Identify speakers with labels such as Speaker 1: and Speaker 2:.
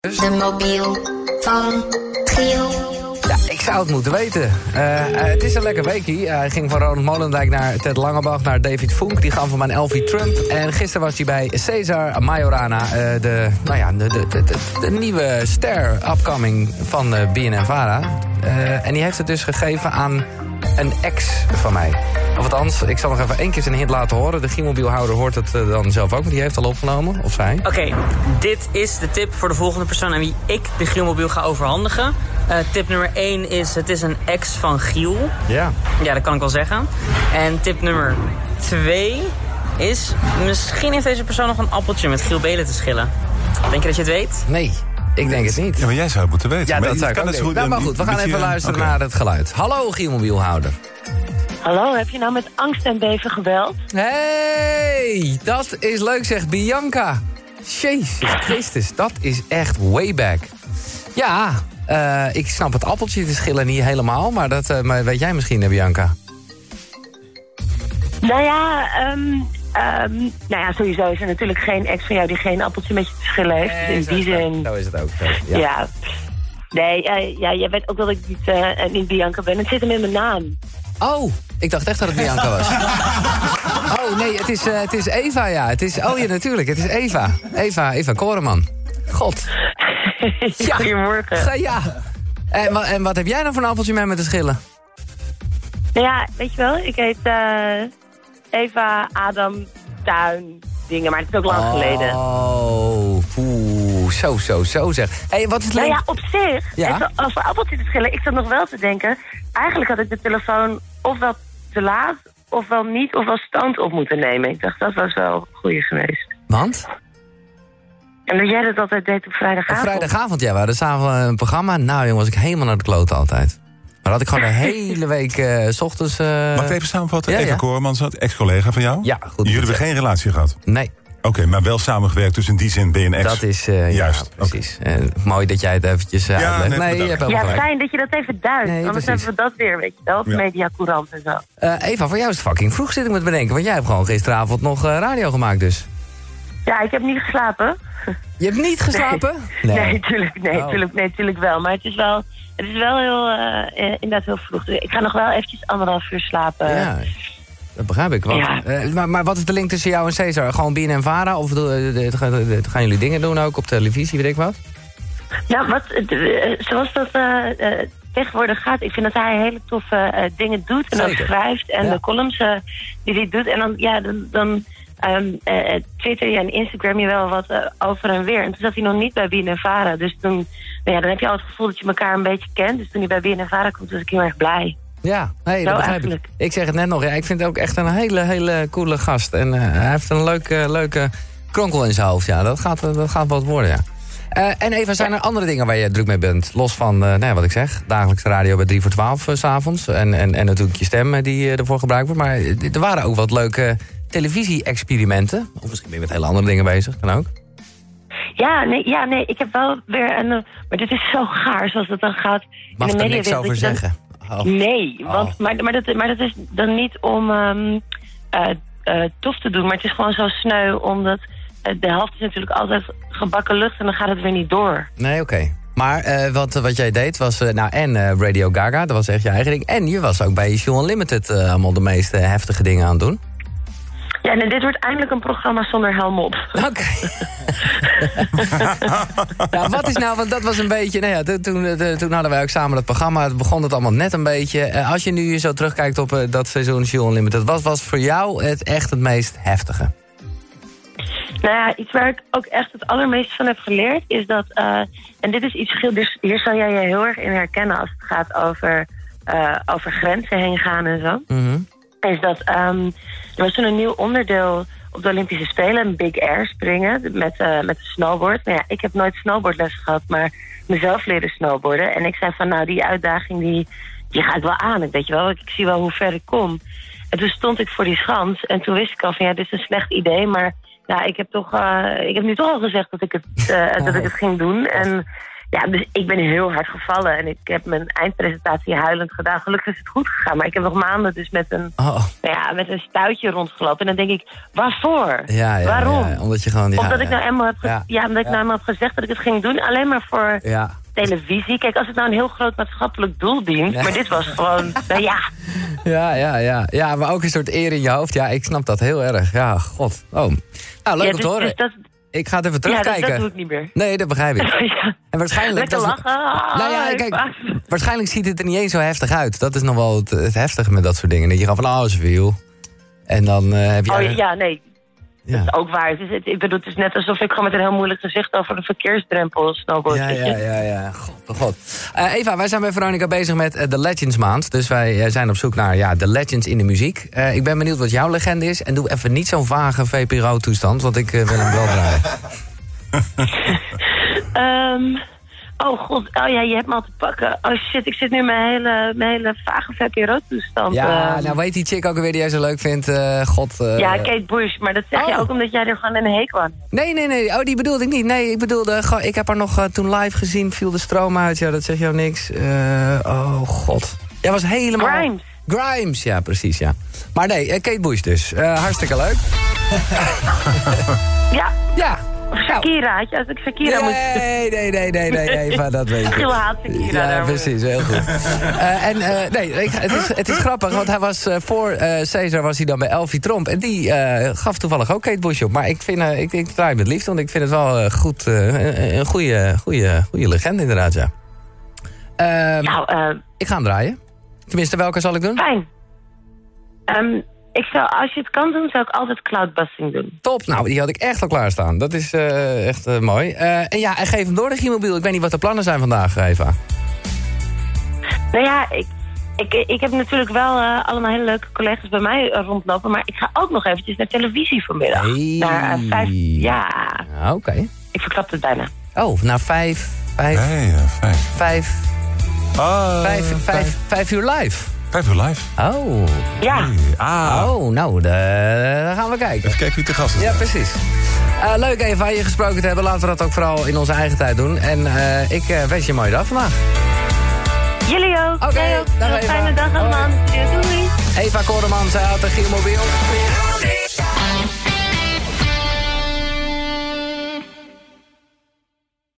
Speaker 1: De mobiel van Giel.
Speaker 2: Ja, ik zou het moeten weten. Eh, eh, het is een lekker weekie. Eh, Hij ging van Ronald Molendijk naar Ted Langebach, naar David Funk. Die gaan van mijn Elfie Trump. En gisteren was hij bij Cesar Majorana, eh, de, nou ja, de, de, de, de- de nieuwe ster upcoming van eh BNNVARA. Eh, en die heeft het dus gegeven aan een ex van mij. Of althans, ik zal nog even één keer zijn hint laten horen. De Giemobielhouder hoort het eh, dan zelf ook, want die heeft al opgenomen. Of zij.
Speaker 3: Oké, dit is de tip voor de volgende persoon aan wie ik de Gielmobiel ga overhandigen. Eh, tip nummer 1 is, het is een ex van Giel.
Speaker 2: Ja.
Speaker 3: Ja, dat kan ik wel zeggen. En tip nummer 2 is, misschien heeft deze persoon nog een appeltje met Giel Belen te schillen. Denk je dat je het weet?
Speaker 2: Nee, ik denk het niet.
Speaker 4: Ja, maar jij zou het moeten weten.
Speaker 2: Ja,
Speaker 4: Maar
Speaker 2: dat
Speaker 4: je
Speaker 2: zou ik
Speaker 4: kan
Speaker 2: ook
Speaker 4: het zo
Speaker 2: doen. Nou, maar
Speaker 4: een
Speaker 2: goed, we gaan
Speaker 4: beetje-
Speaker 2: even luisteren
Speaker 4: Oké.
Speaker 2: naar het geluid. Hallo, Gielmobielhouder.
Speaker 5: Hallo, heb je nou met angst en beven gebeld?
Speaker 2: Hey, dat is leuk zeg, Bianca. Jezus Christus, dat is echt way back. Ja, eh, ik snap het appeltje te schillen niet helemaal, maar dat eh, maar weet jij misschien, hè, Bianca.
Speaker 5: Nou ja, ehm, ehm, nou ja, sowieso is er natuurlijk geen ex van jou die geen appeltje met je te schillen heeft. Dus in die zin,
Speaker 2: Zo is het ook. zo is het,
Speaker 5: ja.
Speaker 2: Ja.
Speaker 5: Nee, eh, ja, jij weet ook dat ik niet, eh, niet Bianca ben. Het zit hem in mijn naam.
Speaker 2: Oh, ik dacht echt dat het Bianca was. Oh nee, het is, eh, het is Eva, ja. Het is, oh ja, natuurlijk, het is Eva. Eva, Eva Koreman. God. Ja.
Speaker 5: Goedemorgen.
Speaker 2: Ga- Ja. En, wa- en wat heb jij nou voor een appeltje met me te schillen?
Speaker 5: Nou ja, weet je wel, ik heet eh, Eva Adam Tuin dingen, maar het is ook lang geleden.
Speaker 2: Oh, poeh, zo, zo, zo zeg. Hé, wat is het
Speaker 5: Nou
Speaker 2: leuk?
Speaker 5: ja, op zich,
Speaker 2: Ja?
Speaker 5: even over appeltje te schillen, ik zat nog wel te denken, eigenlijk had ik de telefoon ofwel te laat, ofwel niet, ofwel stand op moeten nemen. Ik dacht, dat was wel goeie geweest.
Speaker 2: Want?
Speaker 5: En dat jij dat altijd deed op
Speaker 2: Op
Speaker 5: vrijdagavond.
Speaker 2: vrijdagavond, ja, we hadden samen een programma. Nou, jongen, was ik helemaal naar de klote altijd. Maar had ik gewoon de hele week eh, s ochtends... eh,
Speaker 4: Mag ik even samenvatten?
Speaker 2: Ja,
Speaker 4: Eva
Speaker 2: ja.
Speaker 4: Koremans, dat ex-collega van jou.
Speaker 2: Ja, goed.
Speaker 4: Jullie hebben geen relatie gehad.
Speaker 2: Nee,
Speaker 4: Oké, maar wel samengewerkt, dus in die zin ben je een ex.
Speaker 2: dat is... eh,
Speaker 4: Juist,
Speaker 2: Ja, precies. Eh, mooi dat jij het eventjes eh,
Speaker 4: Ja,
Speaker 2: uitlegt.
Speaker 4: nee,
Speaker 2: nee, je
Speaker 4: bedankt.
Speaker 2: hebt helemaal
Speaker 5: Ja,
Speaker 2: gelijk.
Speaker 5: fijn dat je dat even duidt.
Speaker 2: Nee,
Speaker 5: Anders
Speaker 2: precies.
Speaker 5: hebben we dat weer, weet je wel.
Speaker 4: Ja.
Speaker 5: Mediacourant en zo.
Speaker 2: Eh, Eva, voor jou is het fucking vroeg, zit ik me te bedenken. Want jij hebt gewoon gisteravond nog eh, radio gemaakt, dus.
Speaker 5: Ja, ik heb niet geslapen.
Speaker 2: Je hebt niet geslapen?
Speaker 5: Nee, tuurlijk, nee,
Speaker 2: Oh.
Speaker 5: tuurlijk, nee, tuurlijk wel. Maar het is wel, het is wel heel, eh, eh, inderdaad heel vroeg. Dus ik ga nog wel eventjes anderhalf uur slapen.
Speaker 2: Ja, dat begrijp ik. Want,
Speaker 5: Ja.
Speaker 2: eh, maar, maar wat is de link tussen jou en Cesar? Gewoon BNN en Vara? Of doe- eh, gaan- eh, gaan jullie dingen doen ook op televisie, weet ik wat?
Speaker 5: Nou, wat, eh, eh, zoals dat eh, eh, tegenwoordig gaat, ik vind dat hij hele toffe eh, dingen doet en ook
Speaker 2: Zeker.
Speaker 5: schrijft. En
Speaker 2: Ja.
Speaker 5: de columns eh, die hij doet. En dan, ja, dan, dan ehm, eh, eh, twitter je en Instagram je wel wat eh, over en weer. En toen zat hij nog niet bij BNNVARA. Dus toen, nou ja, dan heb je al het gevoel dat je elkaar een beetje kent. Dus toen hij bij BNNVARA komt, was ik heel erg blij.
Speaker 2: Ja, nee, dat
Speaker 5: Nou,
Speaker 2: begrijp
Speaker 5: eigenlijk.
Speaker 2: ik. Ik zeg het net nog, ja, ik vind het ook echt een hele, hele coole gast. En eh, hij heeft een leuke, leuke kronkel in zijn hoofd. Ja, dat gaat, eh, dat gaat wat worden, ja. Eh, en Eva, zijn er andere dingen waar je druk mee bent? Los van, eh, nee, wat ik zeg, dagelijkse radio bij 3 voor 12 eh, s s'avonds. En, en, en natuurlijk je stem eh, die eh, ervoor gebruikt wordt. Maar eh, er waren ook wat leuke televisie-experimenten. Of misschien ben je met hele andere dingen bezig, kan ook.
Speaker 5: Ja, nee, ja, nee, ik heb wel weer een... eh, Maar dit is zo gaar zoals dat dan gaat
Speaker 2: Mag
Speaker 5: in
Speaker 2: ik
Speaker 5: de
Speaker 2: er
Speaker 5: media.
Speaker 2: niks over zeggen? Oh.
Speaker 5: Nee,
Speaker 2: Oh.
Speaker 5: want, maar, maar, dat, maar dat is dan niet om ehm, eh, eh, tof te doen. Maar het is gewoon zo sneu, omdat eh, de helft is natuurlijk altijd gebakken lucht en dan gaat het weer niet door.
Speaker 2: Nee, oké. Maar eh, wat, wat jij deed was, eh, nou en eh, Radio Gaga, dat was echt je eigen ding. En je was ook bij Show Unlimited eh, allemaal de meest eh, heftige dingen aan het doen.
Speaker 5: Ja, en dit wordt eindelijk een programma zonder helm op.
Speaker 2: Oké. ja, wat is nou, want dat was een beetje, nou ja, toen- toen, eh, de- toen hadden wij ook samen dat programma. Het begon het allemaal net een beetje. Eh, als je nu zo terugkijkt op eh, dat seizoen Show Unlimited, wat was voor jou het echt het meest heftige?
Speaker 5: Nou ja, iets waar ik ook echt het allermeest van heb geleerd is dat. eh, en dit is iets, Giel, dus hier zal jij je heel erg in herkennen als het gaat over, eh, over grenzen heen gaan en zo. Is dat. ehm, er was toen een nieuw onderdeel op de Olympische Spelen: een big air springen met, eh met een snowboard. Nou ja, ik heb nooit snowboardles gehad, maar mezelf leren snowboarden. En ik zei van, nou, die uitdaging die, die ga ik wel aan. Ik weet je wel, ik, ik zie wel hoe ver ik kom. En toen stond ik voor die schans en toen wist ik al van, ja, dit is een slecht idee, maar ja, ik heb toch, eh, ik heb nu toch al gezegd dat ik het, eh, dat ik het ging doen. En Ja, dus ik ben heel hard gevallen en ik heb mijn eindpresentatie huilend gedaan. Gelukkig is het goed gegaan, maar ik heb nog maanden dus met een,
Speaker 2: Oh,
Speaker 5: nou ja, met een stuitje rondgelopen. En dan denk ik, waarvoor?
Speaker 2: ja, ja.
Speaker 5: Waarom?
Speaker 2: ja, omdat je gewoon... Ja,
Speaker 5: omdat ik nou eenmaal heb, ge-
Speaker 2: Ja.
Speaker 5: ja. omdat ik
Speaker 2: Ja.
Speaker 5: nou eenmaal heb gezegd dat ik het ging doen. Alleen maar voor
Speaker 2: Ja.
Speaker 5: televisie. Kijk, als het nou een heel groot maatschappelijk doel dient.
Speaker 2: Ja.
Speaker 5: Maar dit was gewoon, nou ja.
Speaker 2: Ja, ja, ja. Ja, maar ook een soort eer in je hoofd. Ja, ik snap dat heel erg. Ja, god. Oh. Nou, leuk
Speaker 5: ja,
Speaker 2: om
Speaker 5: dus-
Speaker 2: te horen.
Speaker 5: dus dat,
Speaker 2: Ik ga het even
Speaker 5: ja, dus dat,
Speaker 2: terugkijken.
Speaker 5: dat doe ik niet meer.
Speaker 2: Nee, dat begrijp ik.
Speaker 5: Ja.
Speaker 2: En waarschijnlijk...
Speaker 5: Lekker
Speaker 2: dat is-
Speaker 5: lachen. Ah,
Speaker 2: Nou ja,
Speaker 5: ik
Speaker 2: kijk,
Speaker 5: was-
Speaker 2: waarschijnlijk ziet het er niet eens zo heftig uit. Dat is nog wel het, het heftige met dat soort dingen. Dat je gaat van, oh, is veel. En dan eh, heb je...
Speaker 5: Oh ja, nee,
Speaker 2: ja.
Speaker 5: ook waar. Het is, het, ik bedoel, het is net alsof ik gewoon met een heel moeilijk gezicht over de verkeersdrempel snowboard.
Speaker 2: Ja,
Speaker 5: weet je.
Speaker 2: ja, ja, ja. God, oh god. Eh, Eva, wij zijn bij Veronica bezig met eh, de Legends Maand. Dus wij eh, zijn op zoek naar ja, de legends in de muziek. Eh, ik ben benieuwd wat jouw legende is. En doe even niet zo'n vage VPRO-toestand, want ik eh, wil hem wel draaien.
Speaker 5: Ehm, oh god, oh ja, je hebt me al te pakken. Oh shit, ik zit nu in mijn hele, mijn hele vage VPRO-toestand.
Speaker 2: Ja,
Speaker 5: ehm.
Speaker 2: nou weet die chick ook weer die jij zo leuk vindt. eh, god. eh,
Speaker 5: ja, Kate Bush, maar dat zeg je
Speaker 2: Oh.
Speaker 5: ook omdat jij er gewoon een hekel aan hebt.
Speaker 2: Nee, nee, nee. Oh, die bedoelde ik niet. Nee, ik bedoelde, gewoon- ik heb haar nog eh, toen live gezien. Viel de stroom uit. Ja, dat zegt jou niks. Eh, oh, god. Jij was helemaal...
Speaker 5: Grimes.
Speaker 2: Grimes, ja, precies, ja. Maar nee, eh, Kate Bush dus. Eh, hartstikke leuk.
Speaker 5: Ja,
Speaker 2: Ja. Nou,
Speaker 5: Shakira, had je, als ik Shakira moet...
Speaker 2: Nee, nee, nee, nee, nee, Eva, dat weet ik.
Speaker 5: Giel haat Shakira
Speaker 2: Ja,
Speaker 5: daarom.
Speaker 2: precies, heel goed. Eh, en eh, nee, ik, het, is, het is grappig, want hij was eh, voor eh Cesar was hij dan bij Elfie Tromp. En die eh, gaf toevallig ook Kate Bush op. Maar ik vind, eh, ik, ik draai hem met liefde, want ik vind het wel eh, goed, eh, een- een goede, goede, goede legende inderdaad, ja. Ehm,
Speaker 5: Nou, eh,
Speaker 2: Ik ga hem draaien. Tenminste, welke zal ik doen?
Speaker 5: fijn. Ehm, ik zou, als je het kan doen, zou ik altijd cloudbusting doen.
Speaker 2: Top, nou, die had ik echt al klaarstaan. Dat is eh, echt eh, mooi. Eh, en ja, en geef hem door de Gimobiel. Ik weet niet wat de plannen zijn vandaag, Eva.
Speaker 5: Nou ja, ik, ik, ik heb natuurlijk wel eh, allemaal hele leuke collega's bij mij eh, rondlopen... maar ik ga ook nog eventjes naar televisie vanmiddag.
Speaker 2: Hey.
Speaker 5: Naar eh, vijf... Ja,
Speaker 2: Ja, Oké.
Speaker 5: ik verklap het bijna.
Speaker 2: Oh, nou vijf, vijf,
Speaker 4: Nee, eh, fijn.
Speaker 2: vijf,
Speaker 4: Ah,
Speaker 2: vijf, Eh, vijf, vijf uur live.
Speaker 4: Vijf uur live.
Speaker 2: Oh,
Speaker 5: Ja,
Speaker 4: Hey, Ah.
Speaker 2: oh nou, de- dan gaan we kijken.
Speaker 4: Even kijken wie te gast is.
Speaker 2: Ja, precies. Eh, leuk even aan je gesproken te hebben. Laten we dat ook vooral in onze eigen tijd doen. En eh, ik eh, wens je een mooie dag vandaag.
Speaker 5: jullie ook.
Speaker 2: Oké,
Speaker 5: Jij ook.
Speaker 2: dag
Speaker 5: Een
Speaker 2: Eva.
Speaker 5: Fijne dag allemaal. Doei.
Speaker 2: Eva Koreman, zij had de Giermobiel.